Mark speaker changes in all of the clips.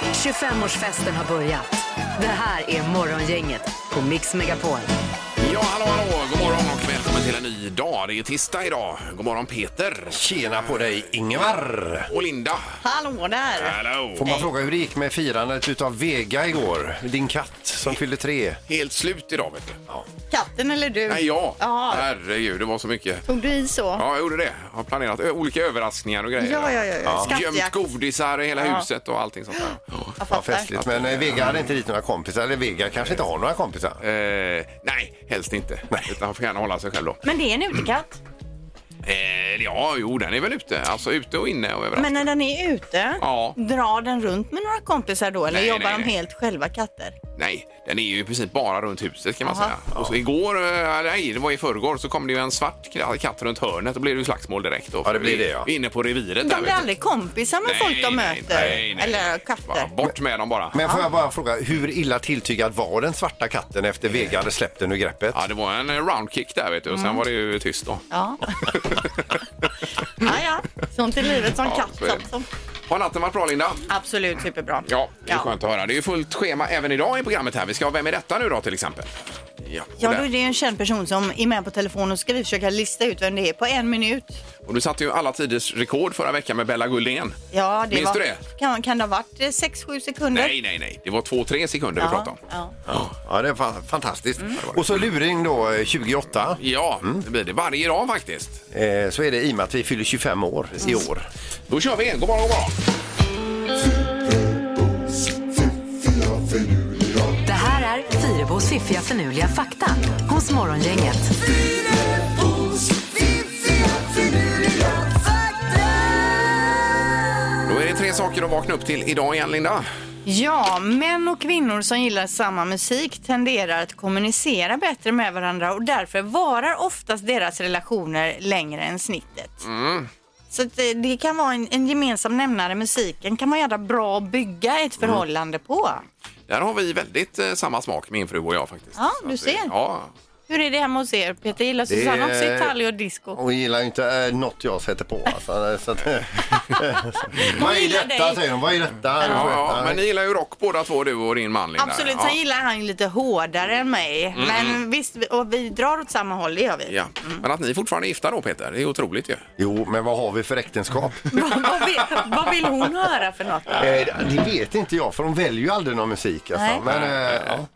Speaker 1: 25-årsfesten har börjat. Det här är Morgongänget på Mix Megapol.
Speaker 2: Ja, hallå, hallå! God morgon och välkommen till en ny dag. Det är tisdag idag. God morgon Peter!
Speaker 3: Tjena på dig Ingvar!
Speaker 2: Och Linda!
Speaker 4: Hallå där!
Speaker 2: Hallå!
Speaker 3: Får man fråga hur det gick med firandet utav Vega igår? Din katt som fyllde tre.
Speaker 2: Helt slut idag vet du.
Speaker 4: Katten eller du?
Speaker 2: Nej, jag.
Speaker 4: Ja,
Speaker 2: Herregud, det var så mycket.
Speaker 4: tog du i så?
Speaker 2: Ja, jag gjorde det. Jag har planerat ö- olika överraskningar och grejer.
Speaker 4: Ja, ja, ja, ja.
Speaker 2: Gömt
Speaker 4: Skattjakt.
Speaker 2: godisar i hela
Speaker 4: Ja.
Speaker 2: huset och allting sånt där.
Speaker 4: Jag
Speaker 3: Ja,
Speaker 4: fattar.
Speaker 3: festligt. Men eh, Vega hade inte dit några kompisar. Eller Vega kanske inte har några kompisar.
Speaker 2: Eh, nej, helst inte. Utan han får gärna hålla sig själv då.
Speaker 5: Men det är en utekatt.
Speaker 2: Eh, ja, jo, den är väl ute. Alltså ute och inne och överallt.
Speaker 4: Men när den är ute,
Speaker 2: Ja.
Speaker 4: drar den runt med några kompisar då eller
Speaker 2: Nej,
Speaker 4: jobbar
Speaker 2: nej,
Speaker 4: de
Speaker 2: nej.
Speaker 4: helt själva katter?
Speaker 2: Nej, den är ju i princip bara runt huset kan man
Speaker 4: Jaha.
Speaker 2: säga. Och så igår, eh, eller nej, det var i förrgår, så kom det ju en svart k- katt runt hörnet. Då blev det ju slagsmål direkt. Då.
Speaker 3: Ja, det blir det, ja.
Speaker 2: Vi är Inne på reviret
Speaker 4: De
Speaker 2: där.
Speaker 4: blir
Speaker 2: vet du.
Speaker 4: aldrig kompisar med folk de möter? Eller
Speaker 2: Bara
Speaker 4: katter?
Speaker 2: Bort med dem bara.
Speaker 3: Men får jag bara fråga, hur illa tilltygad var den svarta katten efter Vega hade släppt den ur greppet?
Speaker 2: Ja, det var en eh, roundkick där vet du.
Speaker 3: Mm.
Speaker 2: Och sen var det ju tyst då.
Speaker 4: Ja. ja, ja. Sånt är livet som
Speaker 2: Ja, så är
Speaker 4: katt.
Speaker 2: det.
Speaker 4: alltså.
Speaker 2: Har natten varit bra Linda?
Speaker 4: Absolut superbra.
Speaker 2: Ja, det är
Speaker 4: Ja.
Speaker 2: skönt att höra. Det är ju fullt schema även idag i programmet här. Vi ska ha Vem är detta nu då till exempel? Ja, och,
Speaker 4: Ja,
Speaker 2: där-
Speaker 4: då är det ju en känd person som är med på telefon och ska vi försöka lista ut vem det är på en minut.
Speaker 2: och du satte ju alla tiders rekord förra veckan med Bella Guldén.
Speaker 4: Ja, det
Speaker 2: Minns
Speaker 4: var,
Speaker 2: du det?
Speaker 4: Kan, kan det ha varit 6-7 sekunder?
Speaker 2: Nej, nej, nej. Det var två, tre sekunder vi
Speaker 4: ja,
Speaker 2: pratade om.
Speaker 4: ja.
Speaker 3: Ja, det var fantastiskt.
Speaker 2: Mm.
Speaker 3: Och så luring då, eh, 28.
Speaker 2: Ja, det blir det varje dag faktiskt. Mm.
Speaker 3: Eh, så är det i och med att vi fyller 25 år i år.
Speaker 2: Då kör vi! God morgon, god morgon!
Speaker 1: Det här är Fyrebos fiffiga förnuliga fakta hos Morgongänget.
Speaker 2: Då är det tre saker att vakna upp till idag igen, Linda.
Speaker 4: Ja, män och kvinnor som gillar samma musik tenderar att kommunicera bättre med varandra och därför varar oftast deras relationer längre än snittet.
Speaker 6: Mm.
Speaker 4: Så att det, det kan vara en, en gemensam nämnare, musiken kan vara jävla bra att bygga ett förhållande på.
Speaker 2: Där har vi väldigt eh, samma smak, min fru och jag faktiskt.
Speaker 4: Ja,
Speaker 2: Så
Speaker 4: du
Speaker 2: att det-
Speaker 4: ser.
Speaker 2: Ja,
Speaker 4: Hur är det hemma hos er Peter? Gillar Susanne också Italio och disco?
Speaker 3: Hon gillar ju inte eh, något jag sätter på. Alltså, så att, vad är
Speaker 4: gillar
Speaker 3: detta,
Speaker 4: dig.
Speaker 3: säger hon. Vad är detta?
Speaker 2: ja, ja, men ni gillar ju rock båda två, du och din man, Linda.
Speaker 4: Absolut,
Speaker 2: ja.
Speaker 4: sen gillar han lite hårdare än mig. Men visst, och vi drar åt samma håll, det gör vi.
Speaker 2: Ja. Men att ni fortfarande är gifta då, Peter, det är otroligt ju.
Speaker 3: Jo, men vad har vi för äktenskap?
Speaker 4: vad, vad, vill, vad vill hon höra för något?
Speaker 3: Eh, det vet inte jag, för hon väljer ju aldrig någon musik. Alltså.
Speaker 4: Nej.
Speaker 3: Men, eh, ja.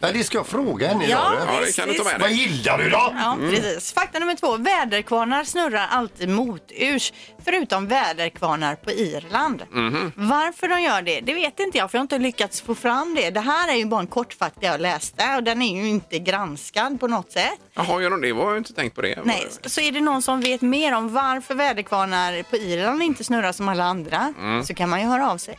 Speaker 3: Nej, det ska jag fråga henne
Speaker 4: Ja,
Speaker 3: idag.
Speaker 2: Ja, det
Speaker 4: visst,
Speaker 2: kan du ta med
Speaker 4: visst.
Speaker 3: Vad
Speaker 2: dig.
Speaker 3: gillar du då? Mm.
Speaker 4: Ja, precis. Fakta nummer två. Väderkvarnar snurrar alltid moturs, förutom väderkvarnar på Irland.
Speaker 7: Mm-hmm.
Speaker 4: Varför de gör det, det vet inte jag, för jag har inte lyckats få fram det. Det här är ju bara en kortfakta jag läste och den är ju inte granskad på något sätt.
Speaker 2: Jaha, gör de det? Var jag inte tänkt på det.
Speaker 4: Nej, så är det någon som vet mer om varför väderkvarnar på Irland inte snurrar som alla andra,
Speaker 2: Mm.
Speaker 4: så kan man ju höra av sig.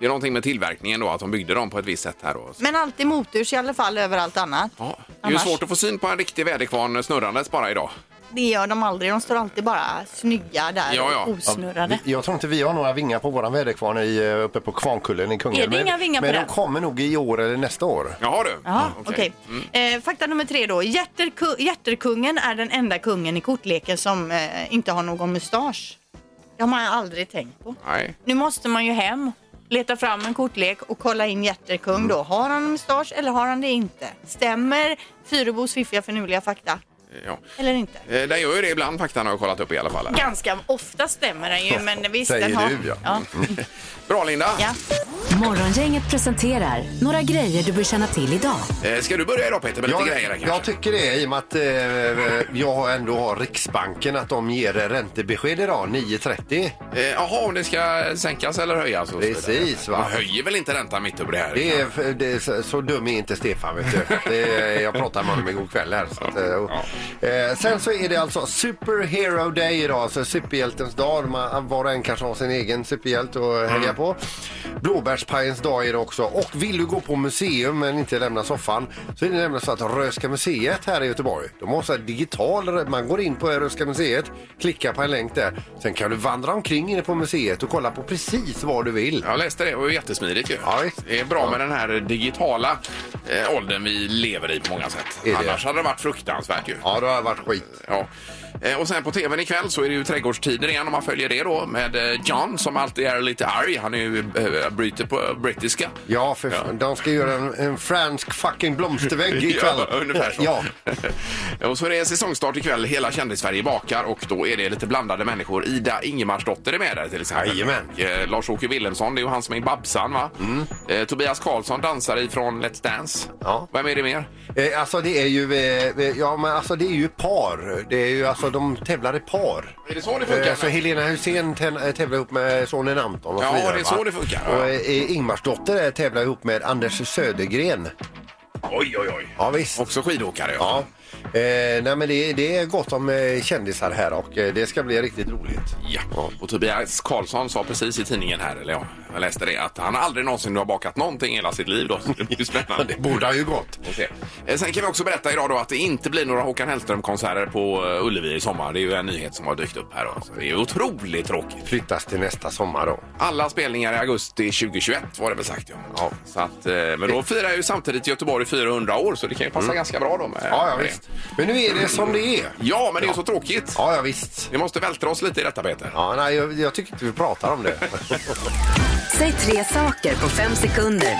Speaker 2: Det är någonting med tillverkningen då, att de byggde dem på ett visst sätt här då.
Speaker 4: Men alltid moturs i alla fall över allt annat.
Speaker 2: Ja. Det är ju
Speaker 4: Annars,
Speaker 2: svårt att få syn på en riktig väderkvarn snurrandes bara idag.
Speaker 4: det gör de aldrig. De står alltid bara snygga där,
Speaker 2: Ja, ja.
Speaker 4: osnurrade.
Speaker 3: Vi- Jag tror inte vi har några vingar på våran väderkvarn i, eh, uppe på Kvarnkullen i Kungälv.
Speaker 5: Är det
Speaker 3: men-
Speaker 5: inga vingar på
Speaker 3: Men de
Speaker 5: den?
Speaker 3: kommer nog i år eller nästa år.
Speaker 2: Jaha du.
Speaker 4: Ja,
Speaker 2: Mm,
Speaker 4: okej. Eh, fakta nummer tre då. Hjärterku- Hjärterkungen är den enda kungen i kortleken som eh, inte har någon mustasch. Det har man aldrig tänkt på.
Speaker 2: Nej.
Speaker 4: Nu måste man ju hem, leta fram en kortlek och kolla in hjärterkung då. Har han mustasch eller har han det inte? Stämmer Fyrebos fiffiga förnuliga fakta
Speaker 2: Ja.
Speaker 4: eller inte?
Speaker 2: Eh, Den gör ju det ibland faktan har jag kollat upp i alla fall. här.
Speaker 4: Ganska ofta stämmer den ju, men visst
Speaker 3: Säger
Speaker 4: den har...
Speaker 3: du, ja.
Speaker 2: Mm. Bra Linda!
Speaker 4: ja.
Speaker 1: Morgongänget presenterar några grejer du bör känna till idag.
Speaker 2: Eh, Ska du börja idag Peter med lite grejer?
Speaker 3: Jag,
Speaker 2: här, kanske?
Speaker 3: jag tycker det i och med att eh, jag har ändå har Riksbanken att de ger räntebesked idag 9.30.
Speaker 2: Eh, Jaha, om det ska sänkas eller höjas? Och så vidare.
Speaker 3: Precis, va?
Speaker 2: Man höjer väl inte räntan mitt upp det här?
Speaker 3: Det är, det är, så- så dum är inte Stefan. Vet du. Det är, jag pratade med honom igår kväll. Här, så att, eh, och, eh, sen så är det alltså Superhero Day idag, alltså superhjältens dag. Man, var och en kanske har sin egen superhjälte att hänga på. Blåbärspajens dag är det också. Och vill du gå på museum men inte lämna soffan så är det nämligen så att Röhsska museet här i Göteborg, de har så här digital, man går in på Röhsska museet, klickar på en länk där. Sen kan du vandra omkring inne på museet och kolla på precis vad du vill.
Speaker 2: Jag läste det, det var ju jättesmidigt ju.
Speaker 3: Ja, visst.
Speaker 2: Det är bra med den här digitala eh, åldern vi lever i på många sätt.
Speaker 3: Är det?
Speaker 2: Annars hade det varit fruktansvärt ju.
Speaker 3: Ja, det har varit skit.
Speaker 2: Ja. Eh, Och sen på tvn ikväll så är det ju trädgårdstider igen om man följer det då med eh, John som alltid är lite arg. Han är ju eh, bryter på eh, brittiska.
Speaker 3: Ja, för fan, de ska göra en, en fransk fucking blomstervägg ikväll.
Speaker 2: Ja, ungefär så.
Speaker 3: Ja.
Speaker 2: och så är det säsongstart ikväll. Hela Kändis-Sverige bakar och då är det lite blandade människor. Ida Ingemarsdotter är med där till exempel.
Speaker 3: Jajamän.
Speaker 2: Och, Eh, Lars-Åke Wilhelmsson, det är ju han som är Babsan va?
Speaker 3: Mm.
Speaker 2: Eh, Tobias Karlsson dansar ifrån Let's Dance.
Speaker 3: Ja.
Speaker 2: Vem är det mer?
Speaker 3: Eh, alltså det är ju, eh, eh, ja men alltså det är ju par. Det är ju alltså de tävlar i par.
Speaker 2: Är det så det funkar?
Speaker 3: Eh, Så Helena Hussein tän- eh, tävlar ihop med sonen Anton och
Speaker 2: Ja,
Speaker 3: så vidare.
Speaker 2: det är så
Speaker 3: va?
Speaker 2: det funkar, ja.
Speaker 3: Och eh, Ingmarsdotter eh, tävlar ihop med Anders Södergren.
Speaker 2: Oj, oj, oj.
Speaker 3: Ja visst.
Speaker 2: Också skidåkare
Speaker 3: Ja. Eh, nej men det, det är gott om eh, kändisar här och eh, det ska bli riktigt roligt.
Speaker 2: Ja, och Tobias Karlsson sa precis i tidningen här, eller ja, jag läste det, att han aldrig någonsin har bakat någonting i hela sitt liv då. Så Det blir spännande.
Speaker 3: Det borde ha ju gått.
Speaker 2: Får se. Eh, Sen kan vi också berätta idag då att det inte blir några Håkan Hellström-konserter på eh, Ullevi i sommar. Det är ju en nyhet som har dykt upp här då. Så Det är ju otroligt tråkigt.
Speaker 3: Flyttas till nästa sommar då.
Speaker 2: Alla spelningar i augusti 2021 var det väl sagt ja.
Speaker 3: Ja.
Speaker 2: Så att, eh, men då firar ju samtidigt Göteborg 400 år så det kan ju
Speaker 3: Mm.
Speaker 2: passa ganska bra då. Med
Speaker 3: Ja, ja
Speaker 2: med det.
Speaker 3: visst. Men nu är det som det är.
Speaker 2: Ja, men det är ju så tråkigt.
Speaker 3: Ja, ja visst.
Speaker 2: Vi måste vältra oss lite i detta Peter.
Speaker 3: Ja, nej, jag, jag tycker inte vi pratar om det.
Speaker 1: Säg tre saker på fem sekunder.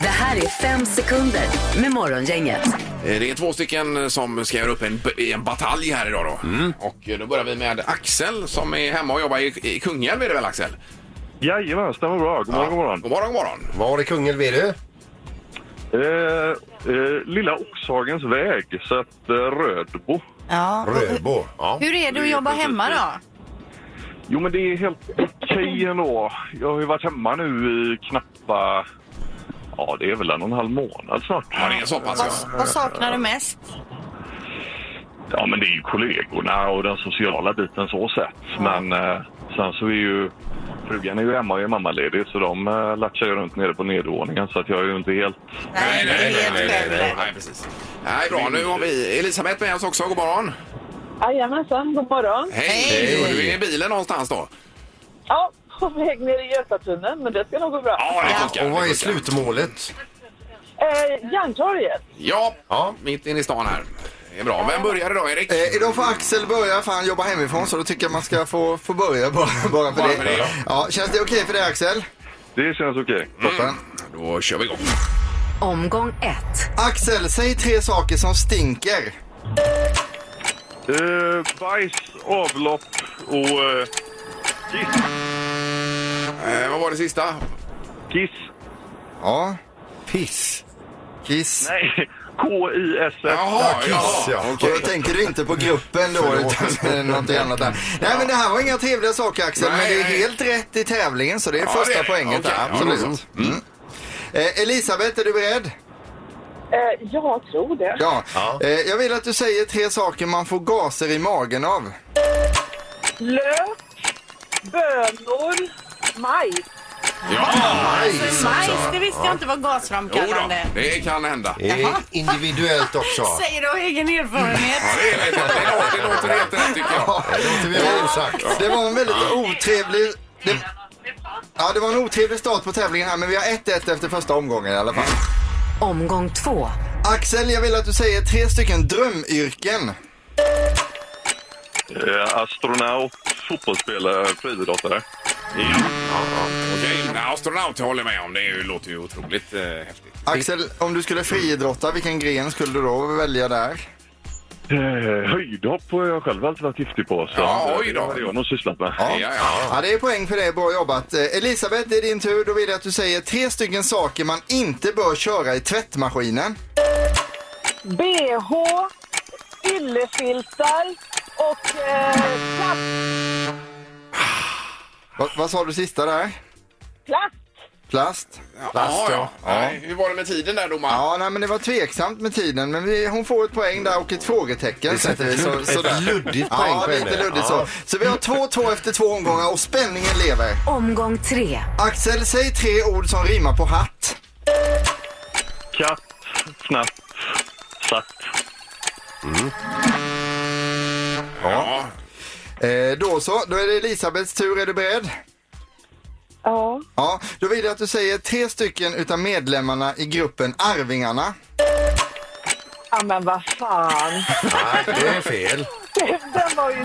Speaker 1: Det här är fem sekunder med Morgongänget.
Speaker 2: Eh, Det är två stycken som ska göra upp en, b- i en batalj här idag då.
Speaker 3: Mm.
Speaker 2: Och eh, då börjar vi med Axel som är hemma och jobbar i, i Kungälv är det väl Axel?
Speaker 5: Jajamän, stämmer bra. God morgon, god morgon.
Speaker 2: God morgon, god morgon.
Speaker 3: Var i Kungälv är du?
Speaker 5: Eh, eh, Lilla Oxhagens väg, så att eh, Rödbo.
Speaker 4: Ja. och-
Speaker 3: Röbo. Ja.
Speaker 4: Hur är det att jobba hemma då?
Speaker 5: Jo, men det är helt okej ändå. Jag har ju varit hemma nu i knappa... Ja, det är väl en och en halv månad snart.
Speaker 2: Ja, det är så pass ja.
Speaker 4: Vad, vad saknar du mest?
Speaker 5: Ja, men det är ju kollegorna och den sociala biten så sett. Men eh, sen så är ju... Frugan är ju hemma och är mammaledig så de eh, latchar ju runt nere på nedervåningen så att jag är ju inte helt...
Speaker 4: Nej, det är helt själv.
Speaker 2: Nej, precis. Nej, bra. Nu har vi Elisabeth med oss också. God morgon.
Speaker 8: Jajamensan, god morgon.
Speaker 2: Hej!
Speaker 4: Hej.
Speaker 2: Och du är i bilen någonstans då?
Speaker 8: Ja, på väg ner i Götatunneln, men det ska nog gå bra.
Speaker 2: det
Speaker 3: Och vad är
Speaker 2: det funkar.
Speaker 3: slutmålet?
Speaker 8: Eh, Järntorget.
Speaker 2: Ja,
Speaker 3: Ja.
Speaker 2: mitt inne i stan här. Det är bra. Vem börjar idag, Erik?
Speaker 7: Eh, idag får Axel börja för han jobbar hemifrån så då tycker jag man ska få, få börja bara, bara för
Speaker 2: Bara
Speaker 7: det.
Speaker 2: för det, ja.
Speaker 7: ja. känns det okej för dig Axel?
Speaker 5: Det känns okej.
Speaker 7: Toppen.
Speaker 2: Mm. Då kör vi igång.
Speaker 1: Omgång ett.
Speaker 7: Axel, säg tre saker som stinker.
Speaker 5: Eh, bajs, avlopp och eh, kiss.
Speaker 2: Eh, vad var det sista?
Speaker 5: Kiss.
Speaker 7: Ja,
Speaker 3: Piss.
Speaker 7: kiss.
Speaker 5: Nej, K-I-S-S.
Speaker 2: Jaha,
Speaker 3: Kiss, ja.
Speaker 7: Och då tänker du inte på gruppen då utan något annat där. Nej men det här var inga trevliga saker Axel
Speaker 2: Nej,
Speaker 7: men det är
Speaker 2: nej.
Speaker 7: helt rätt i tävlingen så det är
Speaker 2: Ja,
Speaker 7: första
Speaker 2: det är det.
Speaker 7: poänget
Speaker 2: Okej,
Speaker 7: där.
Speaker 2: ja,
Speaker 7: Absolut.
Speaker 2: då
Speaker 7: mm. eh, Elisabeth, är du beredd?
Speaker 8: Eh, jag tror det.
Speaker 7: Ja. Eh, jag vill att du säger tre saker man får gaser i magen av.
Speaker 8: Lök, bönor, majs.
Speaker 4: För majs, det visste jag inte var
Speaker 2: alltså. Jo då,
Speaker 4: gasframkallande.
Speaker 2: det kan hända.
Speaker 3: Det är
Speaker 4: Jaha.
Speaker 3: individuellt också.
Speaker 4: Säger du av egen erfarenhet?
Speaker 2: Ja, det, är lite, det, låter, det låter helt rätt tycker jag.
Speaker 3: Det låter vi väl sagt.
Speaker 7: Det var en väldigt otrevlig... Det... Ja, det var en otrevlig start på tävlingen här, men vi har 1-1 efter första omgången i alla fall.
Speaker 1: Omgång två.
Speaker 7: Axel, jag vill att du säger tre stycken drömyrken.
Speaker 5: Eh, astronaut, fotbollsspelare, friidrottare.
Speaker 2: Okej, nej, astronaut jag håller med om. Det är ju- låter ju otroligt eh, häftigt.
Speaker 7: Axel, om du skulle friidrotta, vilken gren skulle du då välja där?
Speaker 5: Eh, höjdhopp har jag själv alltid varit giftig på. Så
Speaker 2: Ja, oj då.
Speaker 5: Det har jag nog sysslat med.
Speaker 2: Ja, ja.
Speaker 7: Ja, det är poäng för dig. Bra jobbat. Eh, Elisabeth, det är din tur. Då vill jag att du säger tre stycken saker man inte bör köra i tvättmaskinen.
Speaker 8: BH, yllefiltar och eh, plast.
Speaker 7: Va, Ah. vad sa du sista där?
Speaker 8: plast.
Speaker 7: Plast?
Speaker 2: Jaha, ja. Nej, hur var det med tiden där domaren?
Speaker 7: Ja, nej, men det var tveksamt med tiden, men vi, hon får ett poäng där och ett frågetecken. sätter vi, så, sådär.
Speaker 3: Ett luddigt poäng
Speaker 7: Ja,
Speaker 3: på henne.
Speaker 7: lite luddigt så. Så vi har 2-2 efter två omgångar och spänningen lever.
Speaker 1: Omgång tre.
Speaker 7: Axel, säg tre ord som rimmar på hatt.
Speaker 5: Katt, fnatt, satt.
Speaker 7: Mm.
Speaker 2: Ja.
Speaker 7: Eh, då så, då är det Elisabeths tur. Är du beredd?
Speaker 8: Ja.
Speaker 7: Ja, då vill jag att du säger tre stycken utav medlemmarna i gruppen Arvingarna.
Speaker 8: ja, men vad fan.
Speaker 3: Nej, det är fel.
Speaker 8: Den var ju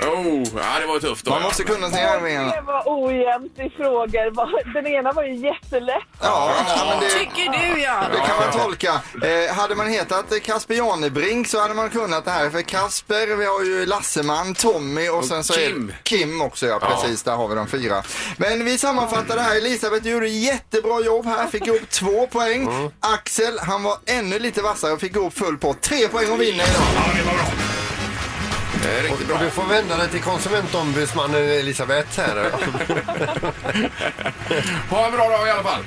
Speaker 2: Oh, ja, det var tufft. Då,
Speaker 7: Man
Speaker 2: ja.
Speaker 7: måste kunna sina arvingarna.
Speaker 8: Det var ojämnt i frågor. Va- Den ena var ju jättelätt.
Speaker 7: Ja, ja, men det,
Speaker 4: Tycker du ja.
Speaker 7: det kan man tolka. Eh, hade man hetat eh, Kasper Janebrink så hade man kunnat det här. För Kasper, vi har ju Lasseman, Tommy och sen så är
Speaker 2: Kim.
Speaker 7: Kim också. Ja, precis. Där har vi de fyra. Men vi sammanfattar det här. Elisabeth du gjorde jättebra jobb här. Fick ihop två poäng. Axel, han var ännu lite vassare och fick ihop full på Tre poäng och vinner idag.
Speaker 2: Ja, det var bra. Eh, riktigt bra.
Speaker 3: Och du får vända dig till konsumentombudsmannen Elisabeth här.
Speaker 2: Ha en bra dag i alla fall.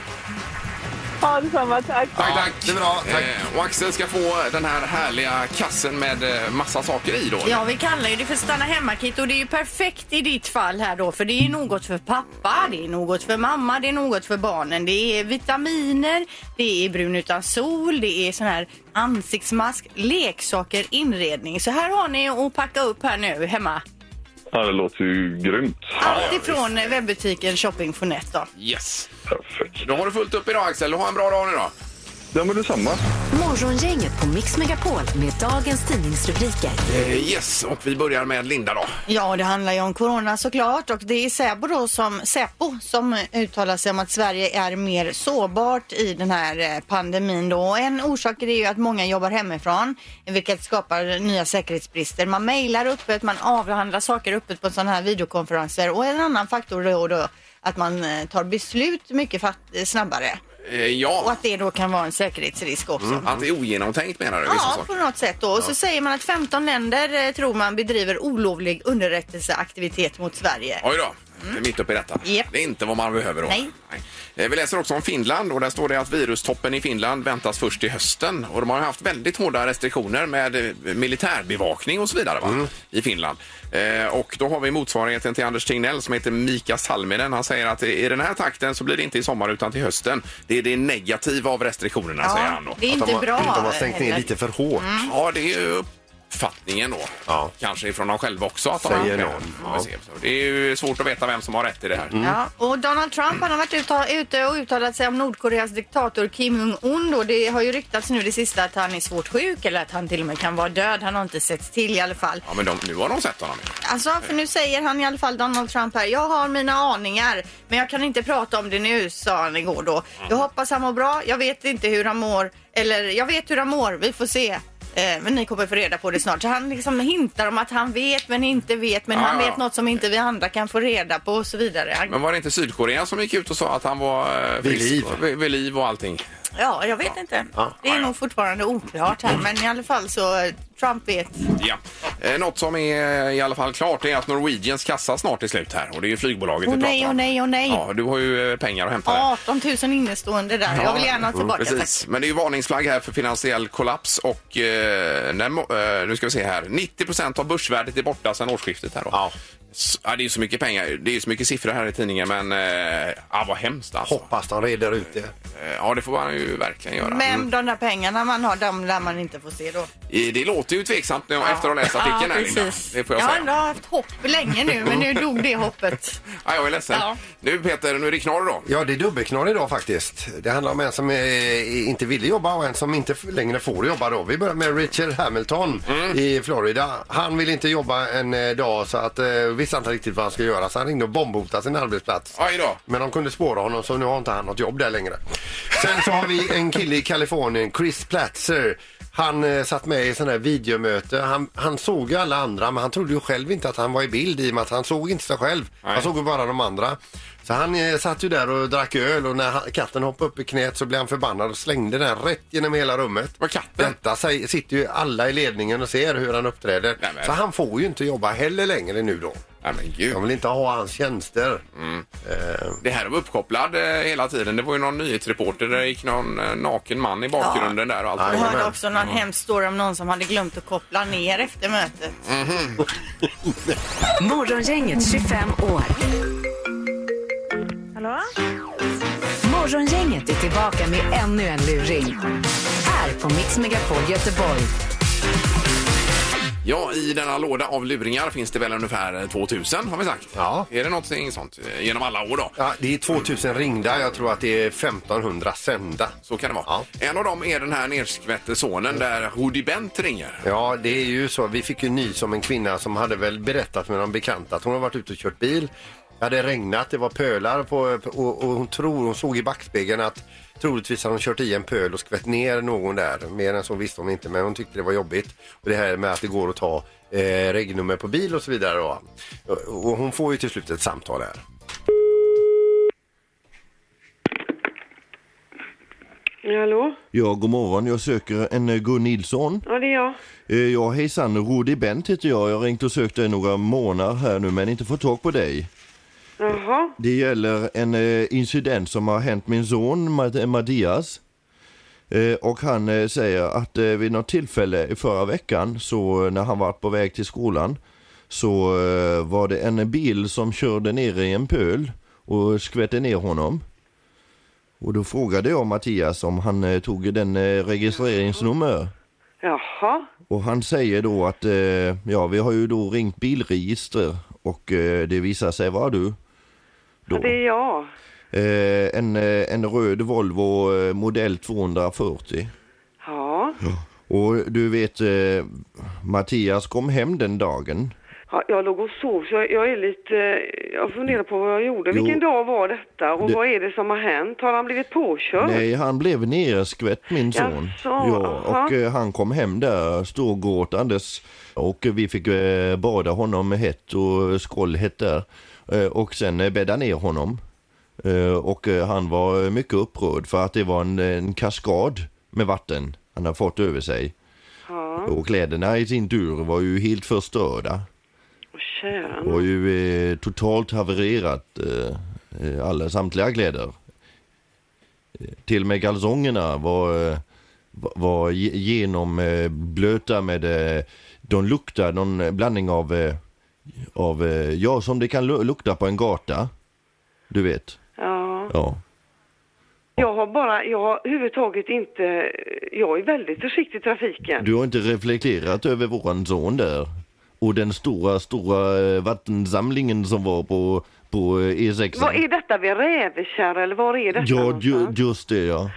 Speaker 8: Ha detsamma, tack.
Speaker 2: Tack, tack.
Speaker 3: det är bra. Tack.
Speaker 2: Eh, och Axel ska få den här härliga kassen med eh, massa saker i då.
Speaker 4: Ja, vi kallar ju det för stanna hemma-kit och det är ju perfekt i ditt fall här då för det är något för pappa, det är något för mamma, det är något för barnen. Det är vitaminer, det är brun utan sol, det är sån här ansiktsmask, leksaker, inredning. Så här har ni att packa upp här nu hemma.
Speaker 5: Ja, det låter ju grymt.
Speaker 4: Allt ifrån eh, webbutiken Shopping for Net då.
Speaker 2: Yes.
Speaker 5: Perfekt.
Speaker 2: Då har du fullt upp idag Axel. Ha en bra dag nu då.
Speaker 5: Ja, men detsamma.
Speaker 1: Morgongänget på Mix Megapol med dagens tidningsrubriker.
Speaker 2: Eh, yes, och vi börjar med Linda då.
Speaker 4: Ja, det handlar ju om corona såklart och det är Säpo då som, Säpo som uttalar sig om att Sverige är mer sårbart i den här eh, pandemin då. Och en orsak är det ju att många jobbar hemifrån vilket skapar nya säkerhetsbrister. Man mejlar öppet, man avhandlar saker öppet på sådana här videokonferenser och en annan faktor då, då att man eh, tar beslut mycket fatt- snabbare
Speaker 2: Eh,
Speaker 4: och
Speaker 2: ja,
Speaker 4: att det då kan vara en säkerhetsrisk också.
Speaker 2: Mm. att det är ogenomtänkt menar du? vissa
Speaker 4: Ja,
Speaker 2: saker.
Speaker 4: på något sätt då. Och så säger man att 15 länder eh, tror man bedriver olovlig underrättelseaktivitet mot Sverige.
Speaker 2: Oj då. Det är mitt uppe i detta.
Speaker 4: Japp.
Speaker 2: Det är inte vad man behöver då.
Speaker 4: Nej.
Speaker 2: Eh, Vi läser också om Finland och där står det att virustoppen i Finland väntas först i hösten. Och de har ju haft väldigt hårda restriktioner med eh, militärbevakning och så vidare va?
Speaker 4: Mm.
Speaker 2: i Finland. Eh, Och då har vi motsvarigheten till Anders Tegnell som heter Mika Salminen. Han säger att i den här takten så blir det inte i sommar utan till hösten. Det är det negativa av restriktionerna säger han då. Mm.
Speaker 4: det är
Speaker 3: Att
Speaker 4: inte
Speaker 3: de har,
Speaker 4: bra.
Speaker 3: De har stängt ner
Speaker 4: heller.
Speaker 3: lite för hårt.
Speaker 2: Ja, det är ju uppfattningen då.
Speaker 3: Mm. Ja.
Speaker 2: Kanske ifrån dem själva också. Att de
Speaker 3: Säger
Speaker 2: har skäl.
Speaker 3: någon. Mm.
Speaker 2: Ja, vi ser. Så Det är ju svårt att veta vem som har rätt i det här.
Speaker 4: Ja, och Donald Trump han har varit utta- ute och uttalat sig om Nordkoreas diktator Kim Jong-Un. Då. Det har ju ryktats nu det sista att han är svårt sjuk eller att han till och med kan vara död. Han har inte setts till i alla fall.
Speaker 2: Ja, men de, nu har de sett honom.
Speaker 4: Alltså, för nu säger han i alla fall, Donald Trump här, jag har mina aningar, men jag kan inte prata om det nu, sa han igår då.
Speaker 2: Mhm.
Speaker 4: Jag hoppas han mår bra, jag vet inte hur han mår, eller jag vet hur han mår, vi får se. Eh, Men ni kommer få reda på det snart. Så han liksom hintar om att han vet men inte vet men
Speaker 2: Ja,
Speaker 4: han
Speaker 2: ja.
Speaker 4: vet något som inte vi andra kan få reda på och så vidare. Han,
Speaker 2: Men var det inte Sydkorea som gick ut och sa att han var eh,
Speaker 3: Vid
Speaker 2: frisk?
Speaker 3: liv.
Speaker 2: Vid, vid liv och allting.
Speaker 4: ja, jag vet inte. Det
Speaker 2: Ja,
Speaker 4: är
Speaker 2: ja.
Speaker 4: nog fortfarande oklart här men i alla fall så eh, Trump vet.
Speaker 2: Ja. Eh, något som är eh, i alla fall klart är att Norwegians kassa snart är slut här. Och det är ju flygbolaget
Speaker 4: Åh
Speaker 2: vi
Speaker 4: nej,
Speaker 2: pratar
Speaker 4: åh
Speaker 2: om.
Speaker 4: nej, åh nej.
Speaker 2: Ja, du har ju eh, pengar att hämta där.
Speaker 4: 18 000 innestående där. Jag vill gärna ha tillbaka tack.
Speaker 2: Mm, Precis, men det är ju varningsflagg här för finansiell kollaps och eh, när, mo- eh, nu ska vi se här, 90 av börsvärdet är borta sedan årsskiftet här då.
Speaker 3: Ja.
Speaker 2: S- Ja, det är ju så mycket pengar, det är ju så mycket siffror här i tidningen men eh, ja, vad hemskt alltså.
Speaker 3: Hoppas de reder ut det.
Speaker 2: Eh, Ja, det får man ju verkligen göra.
Speaker 4: Men de där pengarna man har, de lär man inte få se då.
Speaker 2: Eh, Det låter ju tveksamt när jag, efter att ha läst artikeln här Linda. Det får jag
Speaker 4: jag har
Speaker 2: säga.
Speaker 4: ändå haft hopp länge nu, men nu dog det hoppet.
Speaker 2: Ja, jag är ledsen.
Speaker 4: Ja.
Speaker 2: Nu Peter, nu är det knorr då.
Speaker 3: Ja, det är dubbelknorr idag faktiskt. Det handlar om en som eh, inte ville jobba och en som inte f- längre får jobba. Då. Vi börjar med Richard Hamilton
Speaker 2: Mm.
Speaker 3: i Florida. Han vill inte jobba en eh, dag så att eh, visste inte riktigt vad han ska göra så han ringde och bombhotade sin arbetsplats.
Speaker 2: Aj då.
Speaker 3: Men de kunde spåra honom så nu har inte han något jobb där längre. Sen så har vi en kille i Kalifornien, Chris Platzer. Han eh, satt med i sån här videomöte. Han, han såg ju alla andra men han trodde ju själv inte att han var i bild i och med att han såg inte sig själv.
Speaker 2: Nej.
Speaker 3: Han såg ju bara de andra. Så han eh, satt ju där och drack öl och när han, katten hoppade upp i knät så blev han förbannad och slängde den rätt genom hela rummet.
Speaker 2: Var katten?
Speaker 3: Detta säger- sitter ju alla i ledningen och ser hur han uppträder.
Speaker 2: Nej, men-
Speaker 3: Så han får ju inte jobba heller längre nu då.
Speaker 2: Nej men gud. Mm.
Speaker 3: De vill inte ha hans tjänster. Eh,
Speaker 2: Det här var uppkopplad eh, hela tiden. Det var ju någon nyhetsreporter där det gick någon eh, naken man i bakgrunden där och allt.
Speaker 4: Jag
Speaker 2: vad det var.
Speaker 4: hörde också någon hemsk story om någon som hade glömt att koppla ner efter mötet.
Speaker 6: Mm-hmm.
Speaker 1: Morgongänget 25 år.
Speaker 8: Hallå?
Speaker 1: Morgongänget är tillbaka med ännu en luring. Här på Mix Megapol Göteborg.
Speaker 2: Ja, i denna låda av luringar finns det väl ungefär 2000 har vi sagt.
Speaker 3: Ja.
Speaker 2: Är det någonting sånt eh, genom alla år då?
Speaker 3: Ja, det är 2000 ringda. Jag tror att det är 1500 sända.
Speaker 2: Så kan det vara.
Speaker 3: Ja.
Speaker 2: En av dem är den här nerskvätte sonen där Hoodie Bent ringer.
Speaker 3: Ja, det är ju så. Vi fick ju ny som en kvinna som hade väl berättat med någon bekant att hon har varit ute och kört bil. Det hade regnat, det var pölar på, och, och hon tror, hon såg i backspegeln att troligtvis hade hon kört i en pöl och skvätt ner någon där. Mer än så visste hon inte, men hon tyckte det var jobbigt. Och det här med att det går att ta eh, regnummer på bil och så vidare. Då. Och, och hon får ju till slut ett samtal här.
Speaker 6: Hallå?
Speaker 9: Ja, god morgon. Jag söker en eh, Gun Nilsson.
Speaker 6: Ja, det är jag.
Speaker 9: Eh, Ja, hejsan. Rudi Bent heter jag. Jag har ringt och sökt dig några månader här nu men inte fått tag på dig.
Speaker 6: Jaha.
Speaker 9: Det gäller en eh, incident som har hänt min son Mad- Madias. Eh, och han eh, säger att eh, vid något tillfälle i förra veckan så eh, när han var på väg till skolan så eh, var det en bil som körde ner i en pöl och skvätte ner honom. Och då frågade jag Mattias om han eh, tog den eh, registreringsnummer.
Speaker 6: Jaha.
Speaker 9: Och han säger då att eh, ja, vi har ju då ringt bilregister och eh, det visar sig vara du. Då.
Speaker 6: Ja, det är jag.
Speaker 9: Eh, en, eh, en röd Volvo eh, modell 240.
Speaker 6: Ja.
Speaker 9: Och du vet, eh, Mattias kom hem den dagen.
Speaker 6: ja. Jag låg och sov, så jag, jag är lite... eh, Jag funderar på vad jag gjorde.
Speaker 9: Jo.
Speaker 6: Vilken dag var detta? Och
Speaker 9: Det-
Speaker 6: vad är det som har hänt? Har han blivit påkörd?
Speaker 9: Nej, han blev nerskvätt min son.
Speaker 6: Jaså,
Speaker 9: ja,
Speaker 6: aha.
Speaker 9: och eh, han kom hem där storgråtandes. Och vi fick eh, bada honom hett och skållhett där. Eh, och sen eh, bädda ner honom. Eh, och eh, han var eh, mycket upprörd för att det var en, en kaskad med vatten han hade fått över sig. Och kläderna i sin tur var ju helt förstörda.
Speaker 6: Åh, kära
Speaker 9: Det var ju eh, totalt havererat eh, eh, alla samtliga kläder. Eh, Till och med kalsongerna var, eh, var- var ge- genomblöta med, eh, de luktar någon blandning av, eh, av eh, ja som det kan lu- lukta på en gata. Du vet.
Speaker 6: Ja.
Speaker 9: Ja.
Speaker 6: Jag har bara... Jag har överhuvudtaget inte... Jag är väldigt försiktig i trafiken.
Speaker 9: Du har inte reflekterat över våran son där. Och den stora, stora eh, vattensamlingen som var på, på eh, E6.
Speaker 6: Vad är detta vid Rävekärr eller var är detta
Speaker 9: Ja,
Speaker 6: någonstans?
Speaker 9: ju, just det ja.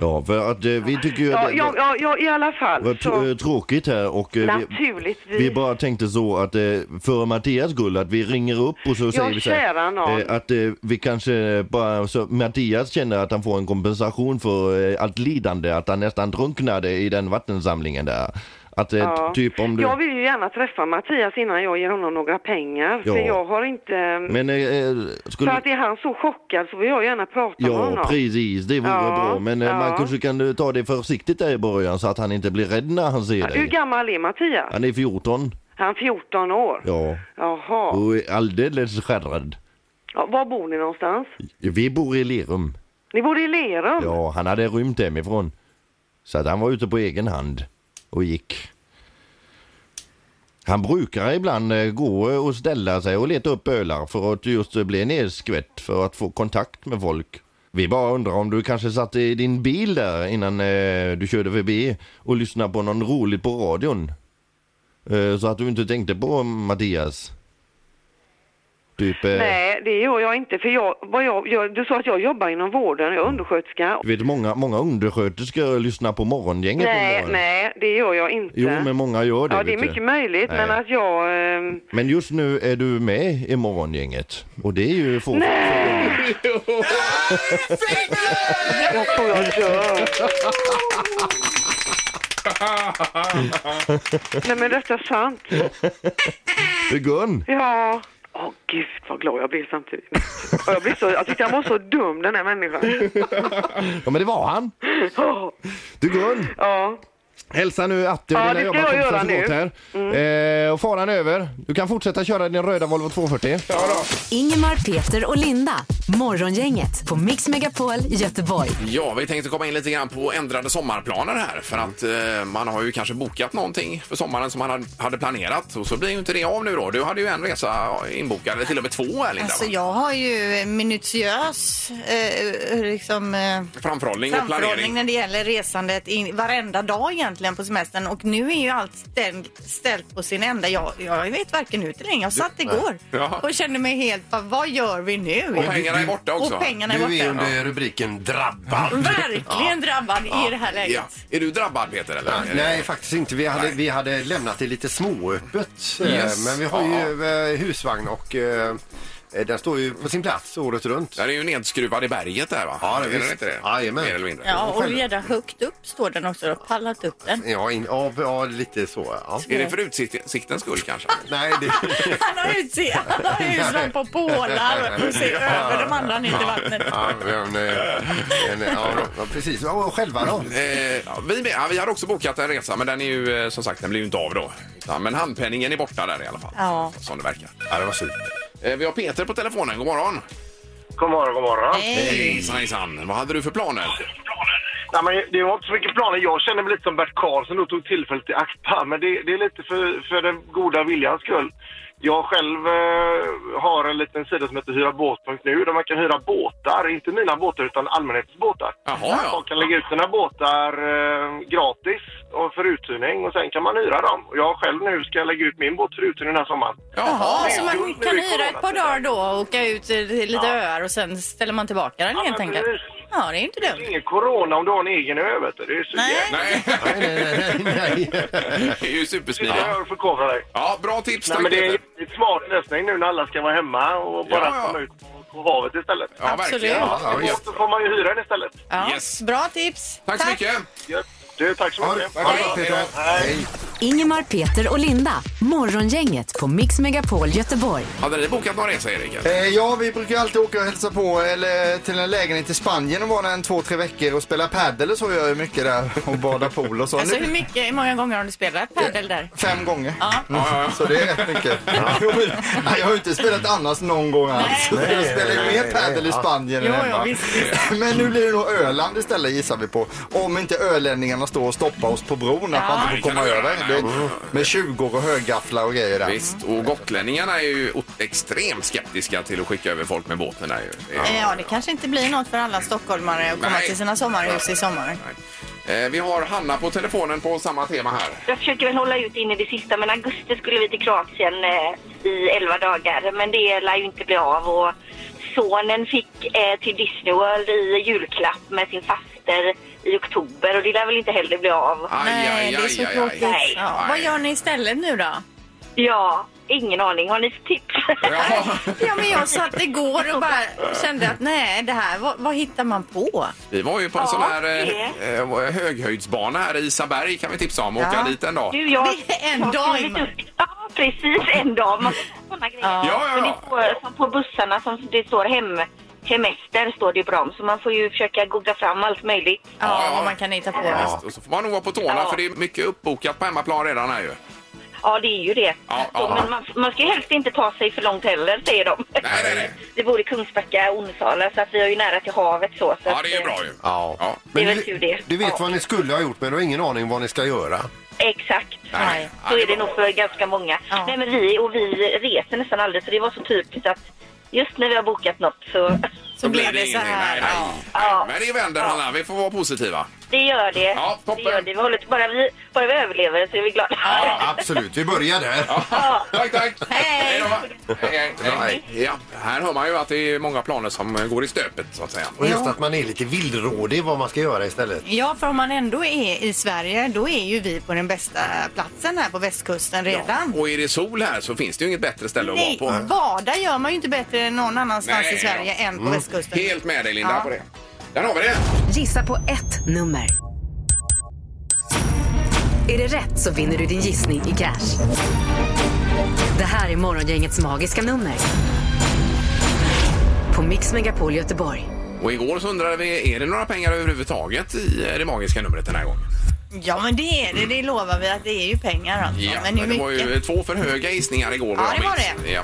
Speaker 9: Ja, för att eh, vi tycker ju
Speaker 6: Ja,
Speaker 9: att det,
Speaker 6: ja, ja, ja, i alla
Speaker 9: det var
Speaker 6: fall.
Speaker 9: tr-
Speaker 6: Så,
Speaker 9: eh, tråkigt här och eh, vi,
Speaker 6: naturligtvis.
Speaker 9: vi bara tänkte så att eh, för Mattias skull att vi ringer upp och så säger vi så
Speaker 6: kära
Speaker 9: här,
Speaker 6: nån.
Speaker 9: eh, att eh, vi kanske bara så Mattias känner att han får en kompensation för eh, allt lidande att han nästan drunknade i den vattensamlingen där. Att eh,
Speaker 6: Ja.
Speaker 9: typ om du...
Speaker 6: Jag vill ju gärna träffa Mattias innan jag ger honom några pengar.
Speaker 9: Ja.
Speaker 6: För jag har inte...
Speaker 9: Men eh, eh,
Speaker 6: För
Speaker 9: skulle...
Speaker 6: att är han så chockad så vill jag gärna prata med
Speaker 9: Ja,
Speaker 6: honom.
Speaker 9: precis. Det vore
Speaker 6: Ja,
Speaker 9: bra. Men eh, man
Speaker 6: ja.
Speaker 9: kanske kan eh, ta det försiktigt där i början så att han inte blir rädd när han ser
Speaker 6: Hur
Speaker 9: dig.
Speaker 6: gammal är Mattias?
Speaker 9: Han är 14.
Speaker 6: Han är 14 år.
Speaker 9: Ja.
Speaker 6: Jaha.
Speaker 9: Och är alldeles skärrad.
Speaker 6: Ja, var bor ni någonstans?
Speaker 9: Vi bor i Lerum.
Speaker 6: Ni bor i Lerum?
Speaker 9: Ja, han hade rymt hemifrån. Så att han var ute på egen hand och gick. Han brukar ibland eh, gå eh, och ställa sig och leta upp ölar för att just eh, bli nedskvätt för att få kontakt med folk. Vi bara undrar om du kanske satt i din bil där innan eh, du körde förbi och lyssnade på någon roligt på radion. Eh, så att du inte tänkte på Mattias. Typ... eh,
Speaker 6: Nej, det gör jag inte. För jag, vad jag, jag, du sa att jag jobbar inom vården, jag är undersköterska.
Speaker 9: Du vet många, många undersköterskor lyssnar på morgongänget på
Speaker 6: Nej,
Speaker 9: morgonen.
Speaker 6: nej, det gör jag inte.
Speaker 9: Jo, men många gör det.
Speaker 6: ja, det är
Speaker 9: vet du.
Speaker 6: mycket möjligt, men
Speaker 9: Nej.
Speaker 6: att jag... ehm,
Speaker 9: Men just nu är du med i morgongänget och det är ju få... Nej!
Speaker 6: jag tror jag dör. nej, men detta är sant.
Speaker 9: Gun!
Speaker 6: Ja. Åh gud vad glad jag blev samtidigt. Och jag, blev så, jag tyckte jag var så dum den här människan.
Speaker 9: Ja, men det var han.
Speaker 6: Ja,
Speaker 9: Du Gun,
Speaker 6: ja,
Speaker 9: hälsa nu att
Speaker 6: Ja,
Speaker 9: vill
Speaker 6: det ska
Speaker 9: jobba
Speaker 6: jag
Speaker 9: kompisar
Speaker 6: göra
Speaker 9: så
Speaker 6: nu. Mm.
Speaker 9: gott här. Eh, och faran är över. Du kan fortsätta köra din röda Volvo 240.
Speaker 1: Ingemar, Peter och Linda. Morgongänget på Mix Megapol Göteborg.
Speaker 2: Ja, vi tänkte komma in lite grann på ändrade sommarplaner här för
Speaker 3: Mm.
Speaker 2: att eh, man har ju kanske bokat någonting för sommaren som man hade- hade planerat och så blir ju inte det av nu då. Du hade ju en resa inbokad, eller till och med två här Linda.
Speaker 4: Alltså
Speaker 2: va?
Speaker 4: jag har ju minutiös eh, liksom, eh,
Speaker 2: Framförhållning och
Speaker 4: framförhållning
Speaker 2: planering.
Speaker 4: när det gäller resandet i varenda dag egentligen på semestern och nu är ju allt ställt, ställt på sin ända. Jag, jag vet varken ut eller in. Jag satt igår
Speaker 2: Ja.
Speaker 4: och kände mig helt, bara, vad gör vi nu?
Speaker 2: Och pengarna är borta också.
Speaker 4: Och pengarna är
Speaker 3: Du är
Speaker 4: borta.
Speaker 3: under rubriken drabbad.
Speaker 4: Verkligen drabbad i det här läget.
Speaker 2: Ja. Är du drabbad Peter? Eller? Är det-
Speaker 3: Nej, faktiskt inte. Vi hade,
Speaker 2: Nej.
Speaker 3: vi hade lämnat det lite småöppet. eh,
Speaker 2: Yes.
Speaker 3: Men vi har
Speaker 2: Ja.
Speaker 3: ju eh, husvagn och eh, eh, den står ju på sin plats året runt.
Speaker 2: Den är ju nedskruvad i berget där va?
Speaker 3: Ja, det
Speaker 2: är
Speaker 3: visst.
Speaker 2: den inte det?
Speaker 3: Jajamän.
Speaker 2: Mer eller mindre.
Speaker 4: Ja, och redan högt upp står den också. Jag har pallat upp den.
Speaker 3: Ja, in, ja, ja lite så. Ja.
Speaker 2: Är det för utsiktens skull kanske?
Speaker 3: Nej, det,
Speaker 4: Han har utse- han har husvagn på pålar och ser över de andra ner till vattnet.
Speaker 3: ja, men, eh, men, eh, ja, ja, precis. Ja, Och själva då?
Speaker 2: Eh, ja, vi, med, ja, vi hade också bokat en resa, men den är ju eh, som sagt, den blir ju inte av då. Utan, men handpenningen är borta där i alla fall,
Speaker 4: Ja.
Speaker 2: som det verkar.
Speaker 3: Ja, det var synd.
Speaker 2: Eh, vi har Peter på telefonen. God morgon!
Speaker 5: God morgon, god morgon.
Speaker 2: Hejsan, hejsan! Vad hade du för planer?
Speaker 5: Nej, men det var inte så mycket planer. Jag känner mig lite som Bert Karlsson och tog tillfället i akt här. Men det, det är lite för, för den goda viljans skull. Jag själv eh, har en liten sida som heter hyrabåt.nu där man kan hyra båtar. Inte mina båtar utan allmänhetens båtar.
Speaker 2: Jaha, ja.
Speaker 5: Folk kan lägga ut sina båtar eh, gratis och för uthyrning och sen kan man hyra dem. Och jag själv nu ska lägga ut min båt för uthyrning den här sommaren.
Speaker 4: Jaha,
Speaker 2: Jaha!
Speaker 4: så man kan hyra ett par dagar då och åka ut till lite öar och sen ställer man tillbaka den helt
Speaker 5: men
Speaker 4: enkelt.
Speaker 5: precis.
Speaker 4: Ja, det är inte
Speaker 5: Det
Speaker 4: dumt.
Speaker 5: är ingen corona om du har en egen ö vet du. Det är så
Speaker 4: Nej.
Speaker 5: jävla-
Speaker 2: Nej,
Speaker 3: Nej, nej, nej, nej.
Speaker 2: det är ju
Speaker 5: Jag
Speaker 2: supersmidigt.
Speaker 5: hör förkovra dig.
Speaker 2: Ja, bra tips,
Speaker 5: Nej,
Speaker 2: tack
Speaker 5: men det är
Speaker 2: Peter!
Speaker 5: en smart lösning nu när alla ska vara hemma och bara
Speaker 2: Ja, ja.
Speaker 5: komma ut på- på havet istället.
Speaker 2: Ja,
Speaker 4: Absolut.
Speaker 2: verkligen. Ja,
Speaker 3: Ja,
Speaker 2: ja,
Speaker 5: Och så får man ju hyra den istället.
Speaker 4: Ja,
Speaker 2: Yes.
Speaker 4: Bra tips.
Speaker 2: Tack så mycket!
Speaker 5: Ja. Du, tack så
Speaker 3: Ha
Speaker 5: mycket.
Speaker 3: det ha det bra, Peter. Hej.
Speaker 1: Ingemar, Peter och Linda. Morgongänget på Mix Megapol Göteborg.
Speaker 2: Hade ni bokat någon resa, Erik?
Speaker 7: Eh, Ja, vi brukar alltid åka och hälsa på eller till en lägenhet i Spanien och vara där en två, tre veckor och spela padel och så gör jag ju mycket där och bada pool och så.
Speaker 4: Alltså hur
Speaker 7: Nu,
Speaker 4: mycket, hur många gånger har du spelat padel där?
Speaker 7: fem gånger.
Speaker 4: Ja.
Speaker 7: Mm, Så det är rätt mycket. Jo, men, nej, Jag har ju inte spelat annars någon gång alls.
Speaker 4: Nej.
Speaker 7: Jag spelar ju
Speaker 3: nej,
Speaker 7: mer
Speaker 3: nej,
Speaker 7: padel i Spanien
Speaker 4: Jo,
Speaker 7: än
Speaker 4: jo,
Speaker 7: hemma.
Speaker 4: visst, visst.
Speaker 7: Men nu blir det nog Öland istället gissar vi på. Om inte ölänningarna står och stoppar oss på bron att man inte
Speaker 2: Nej,
Speaker 7: får komma
Speaker 2: kan de göra,
Speaker 7: över.
Speaker 2: nej.
Speaker 7: Det
Speaker 4: Mm.
Speaker 7: är Med 20 och högafflar och grejer där.
Speaker 2: Visst, och gotlänningarna är ju o- extremt skeptiska till att skicka över folk med båten där ju. Det är-
Speaker 4: Eh, Ja, det kanske inte blir något för alla stockholmare att komma
Speaker 2: Nej.
Speaker 4: till sina sommarhus i sommar.
Speaker 2: Nej. Eh, Vi har Hanna på telefonen på samma tema här.
Speaker 10: Jag försöker väl hålla ut in i det sista, men augusti skulle vi till Kroatien eh, i 11 dagar. Men det lär ju inte bli av. Och sonen fick eh, till Disney World i julklapp med sin faster i oktober och det lär väl inte heller bli av.
Speaker 2: Aj,
Speaker 4: Nej, Eh, det är så tråkigt.
Speaker 10: aj.
Speaker 4: Ja, Vad gör ni istället nu då?
Speaker 10: Ja, ingen aning. Har ni tips?
Speaker 2: Ja,
Speaker 4: Ja, men jag satt igår och bara kände att nej, det här, vad, vad hittar man på?
Speaker 2: vi var ju på en
Speaker 10: Ja,
Speaker 2: sån här
Speaker 10: det.
Speaker 2: eh, eh, höghöjdsbana här i Isaberg kan vi tipsa om och
Speaker 4: Ja.
Speaker 2: åka dit en dag.
Speaker 10: Du, jag
Speaker 4: Det är en
Speaker 10: jag har
Speaker 4: dag,
Speaker 10: skrivit
Speaker 4: Ingmar.
Speaker 10: upp- Ja, precis. En dag. Man såna grejer.
Speaker 4: Ja.
Speaker 2: Ja, ja,
Speaker 10: Men det
Speaker 2: ja.
Speaker 10: står, som på bussarna som det står hem, hemester står det ju bra om. Så man får ju försöka googla fram allt möjligt.
Speaker 4: Ja,
Speaker 2: ja.
Speaker 4: vad man kan hitta på.
Speaker 2: Ja, visst. Och så får man nog vara på tårna
Speaker 10: Ja.
Speaker 2: för det är mycket uppbokat på hemmaplan redan här ju.
Speaker 10: Ja, det är ju det.
Speaker 2: Ja,
Speaker 10: så,
Speaker 2: ja.
Speaker 10: Men man, man ska ju helst inte ta sig för långt heller, säger de.
Speaker 2: Nej, nej, nej.
Speaker 10: Det bor i Kungsbacka och Onsala, så att vi har ju nära till havet. Så, så
Speaker 2: Ja,
Speaker 10: att,
Speaker 2: det är ju
Speaker 10: eh,
Speaker 2: bra ju.
Speaker 3: Ja.
Speaker 2: Ja.
Speaker 10: Det är
Speaker 3: Men
Speaker 10: väl tur
Speaker 3: du,
Speaker 10: det.
Speaker 3: du vet
Speaker 10: Ja.
Speaker 3: vad ni skulle ha gjort men du har ingen aning vad ni ska göra.
Speaker 10: Exakt.
Speaker 4: Nej.
Speaker 10: Så
Speaker 2: Ja,
Speaker 10: är det nog för ganska många.
Speaker 4: Ja.
Speaker 10: Nej, men vi, och vi reser nästan aldrig, så det var så typiskt att just när vi har bokat något så...
Speaker 4: Så blev det så
Speaker 2: ingenting.
Speaker 4: här.
Speaker 2: Nej, nej.
Speaker 4: Ja.
Speaker 10: Ja.
Speaker 2: Men det vänder Hanna, vi får vara positiva.
Speaker 10: Det gör det.
Speaker 2: Ja, toppen.
Speaker 10: det, gör det. Vi håller, bara, vi, bara vi överlever så är vi glada.
Speaker 3: Absolut, vi börjar där.
Speaker 2: Tack, tack!
Speaker 4: Hej.
Speaker 2: då. Hej, hej, hej. Ja, här hör man ju att det är många planer som eh, går i stöpet så att säga.
Speaker 3: Och just att man är lite villrådig vad man ska göra istället.
Speaker 4: Ja, för om man ändå är i Sverige, då är ju vi på den bästa platsen här på västkusten redan.
Speaker 2: Och är det sol här så finns det ju inget bättre ställe
Speaker 4: Nej,
Speaker 2: att vara på.
Speaker 4: bada gör man ju inte bättre än någon annanstans
Speaker 2: Nej, Mm.
Speaker 4: i Sverige än på västkusten.
Speaker 2: Helt med dig Linda
Speaker 4: Ja.
Speaker 2: på det. Där har vi det!
Speaker 1: Gissa på ett nummer. Är det rätt så vinner du din gissning i cash. Det här är Morgongängets magiska nummer. På Mix Megapol Göteborg.
Speaker 2: Och igår så undrade vi, är det några pengar överhuvudtaget i eh, det magiska numret den här gången?
Speaker 4: Ja, men det är det. Det lovar vi att det är ju pengar alltså. men hur
Speaker 2: det var
Speaker 4: mycket?
Speaker 2: ju två för höga gissningar igår. vad
Speaker 4: Ja,
Speaker 2: jag
Speaker 4: det var
Speaker 2: minns.
Speaker 4: det.
Speaker 2: Ja.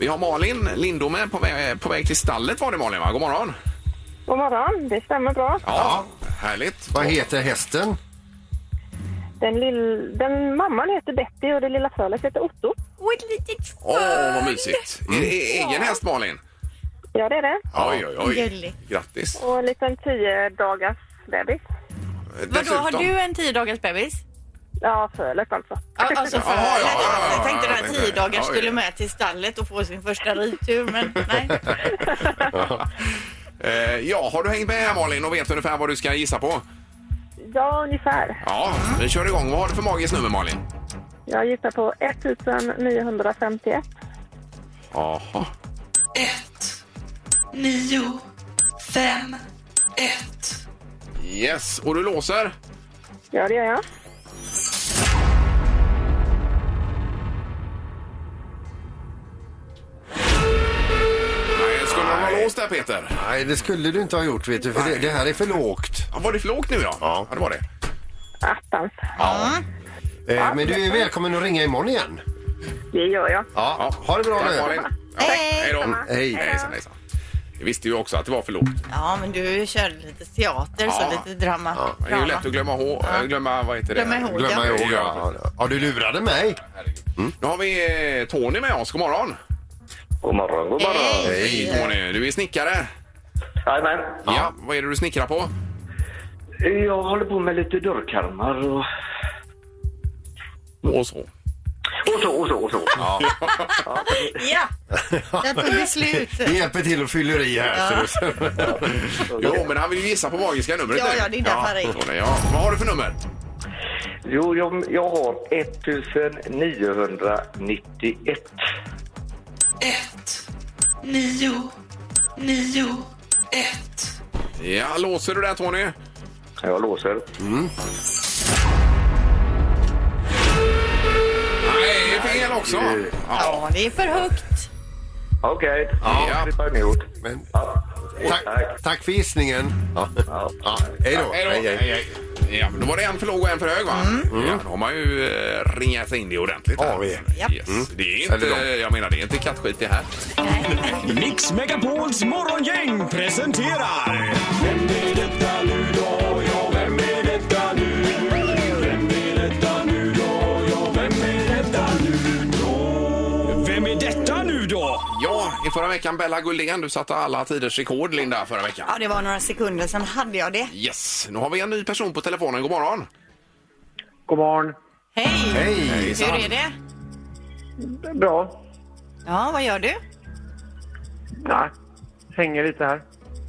Speaker 2: Vi har Malin Lindome på väg, på väg till stallet var det Malin va? God morgon!
Speaker 8: God morgon, det stämmer bra.
Speaker 2: Ja, härligt.
Speaker 3: Vad heter hästen?
Speaker 8: Den, lill, den mamman heter Betty och det lilla fölet heter Otto.
Speaker 4: Och ett litet
Speaker 2: Åh, vad
Speaker 4: föl.
Speaker 2: mysigt! Är det
Speaker 4: Mm.
Speaker 2: egen häst Malin?
Speaker 8: Ja, det är det.
Speaker 2: Oj, oj, oj.
Speaker 4: Gulligt.
Speaker 2: Grattis!
Speaker 8: Och en liten tio dagars bebis.
Speaker 4: Vadå, har
Speaker 2: Dessutom-
Speaker 4: du en tio dagars bebis?
Speaker 11: Ja, fölet alltså.
Speaker 4: Ja, alltså för,
Speaker 2: Ja, ja, ja, ja,
Speaker 4: jag tänkte
Speaker 2: ja,
Speaker 4: den här
Speaker 2: ja,
Speaker 4: tio dagar
Speaker 2: ja,
Speaker 4: skulle
Speaker 2: ja.
Speaker 4: med till stallet och få sin första ridtur, men nej.
Speaker 2: Eh, ja, har du hängt med här Malin och vet ungefär vad du ska gissa på?
Speaker 11: Ja, ungefär.
Speaker 2: Ja, vi kör igång. Vad har du för magiskt nummer Malin?
Speaker 11: Jag gissar på 1951.
Speaker 2: Jaha.
Speaker 12: ett nio fem ett
Speaker 2: Yes, och du låser?
Speaker 11: Ja, det gör jag.
Speaker 2: Nej, skulle du ha låst där Peter?
Speaker 3: Nej, det skulle du inte ha gjort vet du, för det, det här är för lågt.
Speaker 2: Ja, var det för lågt nu ja? Ja, det var det.
Speaker 11: Attans.
Speaker 3: Eh, men du är välkommen att ringa imorgon igen.
Speaker 11: Det gör jag.
Speaker 3: Ja, ha det bra
Speaker 2: Tack
Speaker 3: nu.
Speaker 2: Malin. Ja, Hej då.
Speaker 3: Hej.
Speaker 2: Hejsan, hejsan. Jag visste ju också att det var för lågt.
Speaker 4: Ja, men du körde lite teater,
Speaker 2: Ja.
Speaker 4: så lite drama.
Speaker 2: Det är ju lätt att glömma ihåg. Glömma, vad heter det?
Speaker 4: Glömma ihåg,
Speaker 3: Glömma
Speaker 4: ja.
Speaker 3: ihåg. Ja, ja, du lurade mig. Mm.
Speaker 2: Nu har vi eh, Tony med oss. God morgon.
Speaker 13: God morgon, god
Speaker 4: Hej.
Speaker 2: Tony, du är snickare.
Speaker 13: Jajamän.
Speaker 2: Ja. vad är det du snickrar på?
Speaker 13: Jag håller på med lite dörrkarmar och...
Speaker 2: Och så.
Speaker 13: Och så, och så, och så. Ja.
Speaker 4: Ja, där tog det slut.
Speaker 3: Det hjälper till att fylla i här. så du-
Speaker 2: Jo, men han vill ju gissa på magiska numret.
Speaker 4: Ja,
Speaker 2: nu.
Speaker 4: ja, det är därför han ringer.
Speaker 2: Tony, ja. Vad har du för nummer?
Speaker 13: Jo, jag, jag har 1991.
Speaker 12: ett nio nio ett
Speaker 2: Ja, låser du där Tony? Mm.
Speaker 13: Jag låser.
Speaker 2: Nej, det är fel också. Ja.
Speaker 4: Ja, det är för högt.
Speaker 13: Okej.
Speaker 2: Ja.
Speaker 13: Det har ni gjort.
Speaker 3: Men,
Speaker 13: Ja.
Speaker 3: tack, tack för gissningen. Ja. Ja, hej då.
Speaker 2: Hej
Speaker 3: Hej,
Speaker 2: då.
Speaker 3: hej.
Speaker 2: Hej, hej. Ja, men då var det en för låg och en för hög va?
Speaker 12: Mm.
Speaker 2: Ja, då har man ju eh, ringat in det ordentligt. här.
Speaker 3: Ja, vi-
Speaker 4: Japp.
Speaker 2: Yes. Mm. Det är inte,
Speaker 3: Eller de.
Speaker 2: jag menar det är inte kattskit det här.
Speaker 10: Mix Megapols morgongäng presenterar... Vem är detta nu då? Ja, vem är detta nu? Vem är detta nu då? Ja, vem är detta nu då? Vem är detta nu då?
Speaker 2: Ja, i förra veckan Bella Gullén, du satte alla tiders rekord Linda förra veckan.
Speaker 4: Ja, det var några sekunder, sen hade jag det.
Speaker 2: Yes, nu har vi en ny person på telefonen. God morgon!
Speaker 13: God morgon.
Speaker 4: Hej!
Speaker 3: Hej.
Speaker 4: Hur är det?
Speaker 13: Bra.
Speaker 4: Ja, vad gör du?
Speaker 13: Ja. Hänger lite här.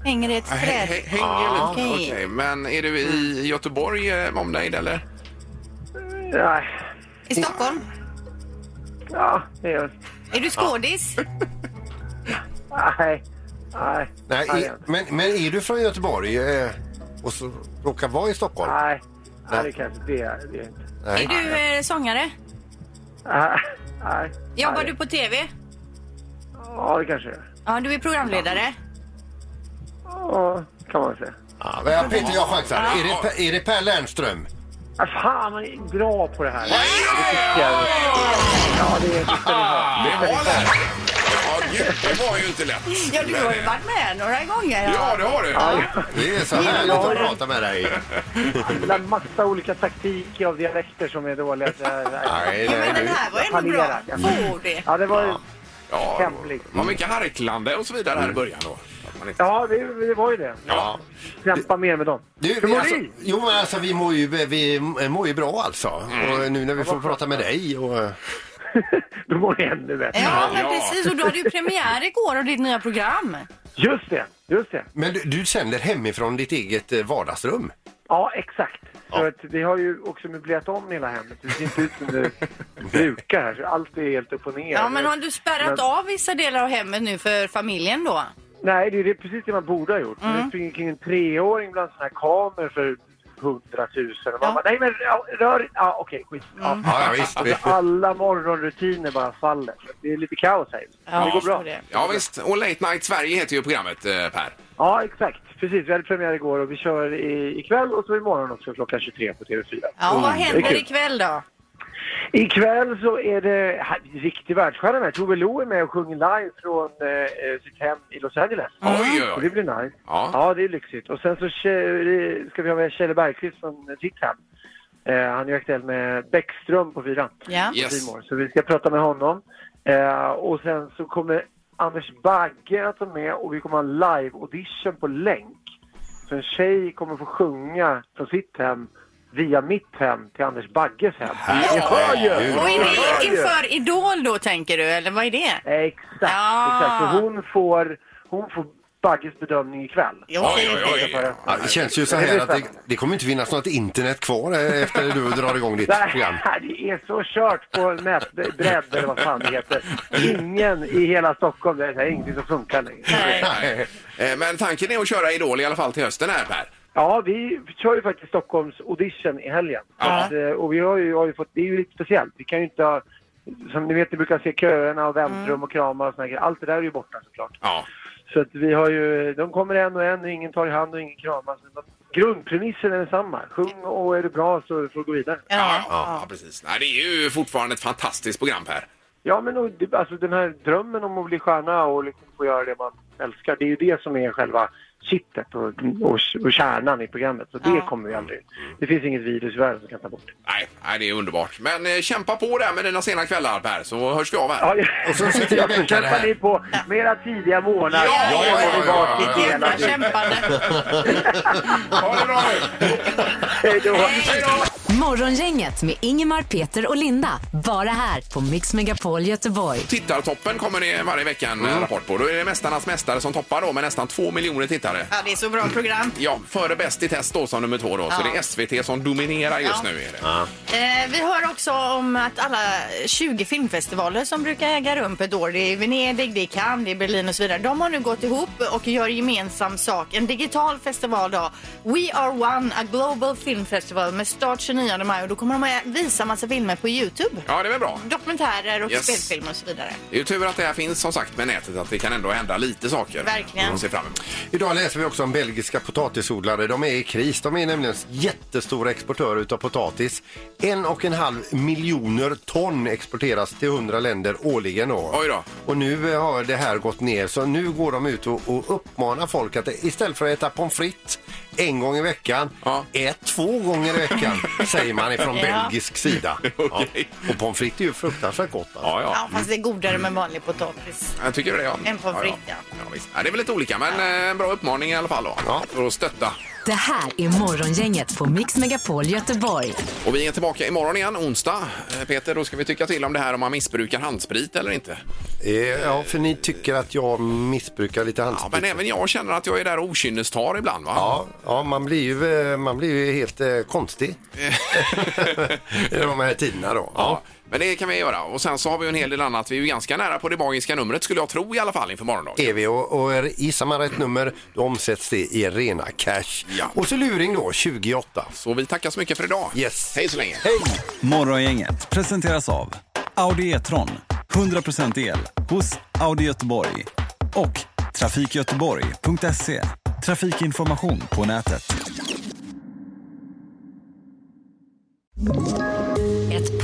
Speaker 4: Hänger i ett
Speaker 2: Hä-
Speaker 4: träd?
Speaker 2: hä- Hänger lite.
Speaker 4: okej.
Speaker 2: Okej, men är du i Göteborg eh, med omnejd eller?
Speaker 13: Nej.
Speaker 4: I Stockholm?
Speaker 13: Ja, det gör
Speaker 4: Är du skådis?
Speaker 13: Nej. Nej.
Speaker 3: Nej,
Speaker 13: Nej.
Speaker 3: i, men, men är du från Göteborg eh, och så råkar vara i Stockholm?
Speaker 13: Nej. Nej, det kanske det är. Det är inte.
Speaker 4: Är du eh, sångare?
Speaker 13: Nej. Nej.
Speaker 4: Jobbar
Speaker 13: Nej.
Speaker 4: du på TV?
Speaker 13: Ja, det kanske det är.
Speaker 4: Ja, du är programledare.
Speaker 13: Ja, kan man säga.
Speaker 3: Ja, men Peter, jag chansar. Är det, Per- är det Per Lernström?
Speaker 13: Ah, fan, man är bra på det här. Ja, det är
Speaker 2: Det var det! Ja, gud, det var ju inte lätt.
Speaker 4: Ja, du har ju varit med några gånger.
Speaker 2: Ja, det har du!
Speaker 3: Det är så härligt att prata med dig.
Speaker 13: en massa olika taktiker av dialekter som är dåliga. Så
Speaker 3: Nej,
Speaker 13: jag-
Speaker 4: Ja,
Speaker 3: nej,
Speaker 4: men den
Speaker 3: du.
Speaker 4: här var
Speaker 13: Jag
Speaker 4: ändå bra.
Speaker 13: fallerar.
Speaker 4: Får det.
Speaker 13: Ja, det var,
Speaker 2: Ja,
Speaker 13: Kämpligt.
Speaker 2: det var mycket harklande och så vidare här i början då. Att man inte-
Speaker 13: ja det, det var ju det.
Speaker 3: Ja.
Speaker 13: Kämpa mer med dem.
Speaker 3: Du,
Speaker 13: Hur
Speaker 3: vi,
Speaker 13: mår
Speaker 3: alltså,
Speaker 13: ni?
Speaker 3: jo, men alltså, vi mår ju, vi mår ju bra alltså.
Speaker 4: Mm.
Speaker 3: Och nu när vi får prata med dig och...
Speaker 13: Då mår ni ännu bättre.
Speaker 4: Ja, men
Speaker 2: Ja.
Speaker 4: precis. Och du hade ju premiär igår av ditt nya program.
Speaker 13: Just det, just det.
Speaker 3: Men du, du sänder hemifrån ditt eget eh, vardagsrum?
Speaker 13: Ja, exakt. För att vi har ju också möblerat om hela hemmet. Det ser inte ut som det brukar här. Så allt är helt upp och ner.
Speaker 4: Ja, men har du spärrat
Speaker 13: Men-
Speaker 4: av vissa delar av hemmet nu för familjen då?
Speaker 13: Nej, det är det, precis det man borde ha
Speaker 4: Mm.
Speaker 13: gjort. Det springer kring en treåring bland såna här kameror för hundratusen. Och man
Speaker 4: Ja.
Speaker 13: bara, nej men ja, rör inte. Ja, okej, skit. Ja.
Speaker 3: Ja, ja visst.
Speaker 13: Alltså, alla morgonrutiner bara faller. Det är lite kaos här.
Speaker 4: Ja,
Speaker 13: det går bra.
Speaker 4: det.
Speaker 2: Ja, visst. Och Late Night Sverige heter ju programmet, eh, Per.
Speaker 13: Ja, exakt. Precis. Vi hade premiär igår och vi kör i, ikväll och så imorgon också klockan 23 på TV4.
Speaker 4: Ja, och vad
Speaker 13: Mm, det är
Speaker 4: händer
Speaker 13: kul.
Speaker 4: ikväll då?
Speaker 13: Ikväll så är det ha, riktig världsstjärna med. Tove Lo är med och sjunger live från eh, eh, sitt hem i Los Angeles.
Speaker 2: Oj,
Speaker 13: Och
Speaker 2: oj,
Speaker 13: det blir nice.
Speaker 2: Ja.
Speaker 13: ja, det är lyxigt. Och sen så ke- ska vi ha med Kjelle Bergqvist från sitt hem. Eh, han är ju aktuell med Bäckström på fyran.
Speaker 4: Ja.
Speaker 13: på
Speaker 2: Yes.
Speaker 13: Simor. Så vi ska prata med honom. Eh, och sen så kommer Anders Bagge att vara med och vi kommer ha en live-audition på länk. Så en tjej kommer få sjunga från sitt hem via mitt hem till Anders Bagges hem. Ni hör ju!
Speaker 4: Och
Speaker 13: Ni
Speaker 4: in,
Speaker 13: hör ju.
Speaker 4: inför Idol då tänker du, eller vad är det?
Speaker 13: Exakt, Exakt,
Speaker 4: Ja.
Speaker 13: så hon får, hon får Bagges bedömning ikväll.
Speaker 3: Ja, det känns ju så här att det, det kommer inte finnas något internet kvar eh, efter du drar igång ditt program.
Speaker 13: Nej, det är så kört på nätbredd eller vad fan det heter. Ingen i hela Stockholm, det är så här, ingenting som funkar längre.
Speaker 2: Eh, Men tanken är att köra Idol i alla fall till hösten här Per.
Speaker 13: Ja, vi kör ju faktiskt Stockholms audition i helgen. Att, eh, och vi har ju, har ju fått, det är ju lite speciellt. Vi kan ju inte ha, som ni vet, ni brukar se köerna och väntrum och kramar och såna här grejer. Allt det där är ju borta såklart.
Speaker 2: Ja.
Speaker 13: Så att vi har ju, de kommer en och en och ingen tar i hand och ingen kramas. Men de- Grundpremissen är densamma. Sjung och är det bra så får du gå vidare.
Speaker 2: Ja, ja, precis. Nej, det är ju fortfarande ett fantastiskt program Per.
Speaker 13: Ja, men och det- alltså den här drömmen om att bli stjärna och liksom få göra det man älskar, det är ju det som är själva kittet och, och, och kärnan i programmet. Så det kommer vi aldrig... Det finns inget virus i världen som kan ta bort det.
Speaker 2: Nej, nej, det är underbart. Men eh, kämpa på där med dina sena kvällar Per, så hörs vi av här.
Speaker 13: Ja,
Speaker 2: Och så
Speaker 13: sitter jag och bänkar här. ni på med era tidiga månader.
Speaker 2: Ja, ja, ja, ja, ja, ja, ja.
Speaker 13: Hela tiden.
Speaker 2: Ha det bra nu!
Speaker 13: Hej då!
Speaker 1: Morgongänget med Ingemar, Peter och Linda. Bara här på Mix Megapol Göteborg.
Speaker 2: Tittartoppen kommer det varje vecka en eh, rapport på. Då är det Mästarnas mästare som toppar då med nästan två miljoner tittare.
Speaker 4: Ja, det är så bra program.
Speaker 2: Ja, före Bäst i test då som nummer två då. Så
Speaker 4: Ja.
Speaker 2: det är SVT som dominerar just nu. Är det.
Speaker 4: Eh, vi hör också om att alla 20 filmfestivaler som brukar äga rum på ett år, det är Venedig, det är Cannes, det är Berlin och så vidare. De har nu gått ihop och gör gemensam sak. En digital festival då. We are one, a global film festival med start 29 maj och då kommer de att visa massa filmer på Youtube.
Speaker 2: Ja, det är väl bra.
Speaker 4: Dokumentärer och
Speaker 2: Yes.
Speaker 4: spelfilmer och så vidare.
Speaker 2: Det är ju tur att det här finns som sagt med nätet att det kan ändå hända lite saker.
Speaker 4: Verkligen.
Speaker 2: Att se fram emot.
Speaker 3: Idag läser vi också om belgiska potatisodlare. De är i kris. De är nämligen jättestora exportörer utav potatis. En och en halv miljoner ton exporteras till 100 länder årligen. Då.
Speaker 2: Oj då.
Speaker 3: Och nu eh, har det här gått ner så nu går de ut och, och uppmanar folk att istället för att äta pommes frites en gång i veckan, ät två gånger i veckan säger man ifrån
Speaker 4: Ja.
Speaker 3: belgisk sida. Ja. Och pommes frites är ju fruktansvärt gott. Alltså.
Speaker 2: Ja,
Speaker 4: Ja, fast det är godare med vanlig potatis.
Speaker 2: Jag tycker det, ja.
Speaker 4: En pommes frites,
Speaker 2: ja. Ja, visst. ja, Det är väl lite olika, men eh, en bra uppmaning i alla fall. Då. För att stötta.
Speaker 1: Det här är Morgongänget på Mix Megapol Göteborg.
Speaker 2: Och vi är tillbaka imorgon igen, onsdag. Eh, Peter, då ska vi tycka till om det här om man missbrukar handsprit eller inte.
Speaker 3: Eh, Ja, för ni tycker att jag missbrukar lite handsprit.
Speaker 2: Men även jag känner att jag är där och okynnestar ibland, va?
Speaker 3: Ja, ja man, blir ju, eh, man blir ju helt eh, konstig i de här tiderna då.
Speaker 2: Ja, men det kan vi göra. Och sen så har vi ju en hel del annat. Vi är ju ganska nära på det magiska numret skulle jag tro i alla fall inför morgondagen.
Speaker 3: Är vi och, och är- gissar man rätt nummer då omsätts det i rena cash. Och så luring då, 28.
Speaker 2: Så vi tackar så mycket för idag.
Speaker 3: Yes.
Speaker 2: Hej så länge.
Speaker 14: Morgongänget presenteras av Audi E-tron. 100% el hos Audi Göteborg. Och trafikgöteborg.se. Trafikinformation på nätet.
Speaker 15: Ett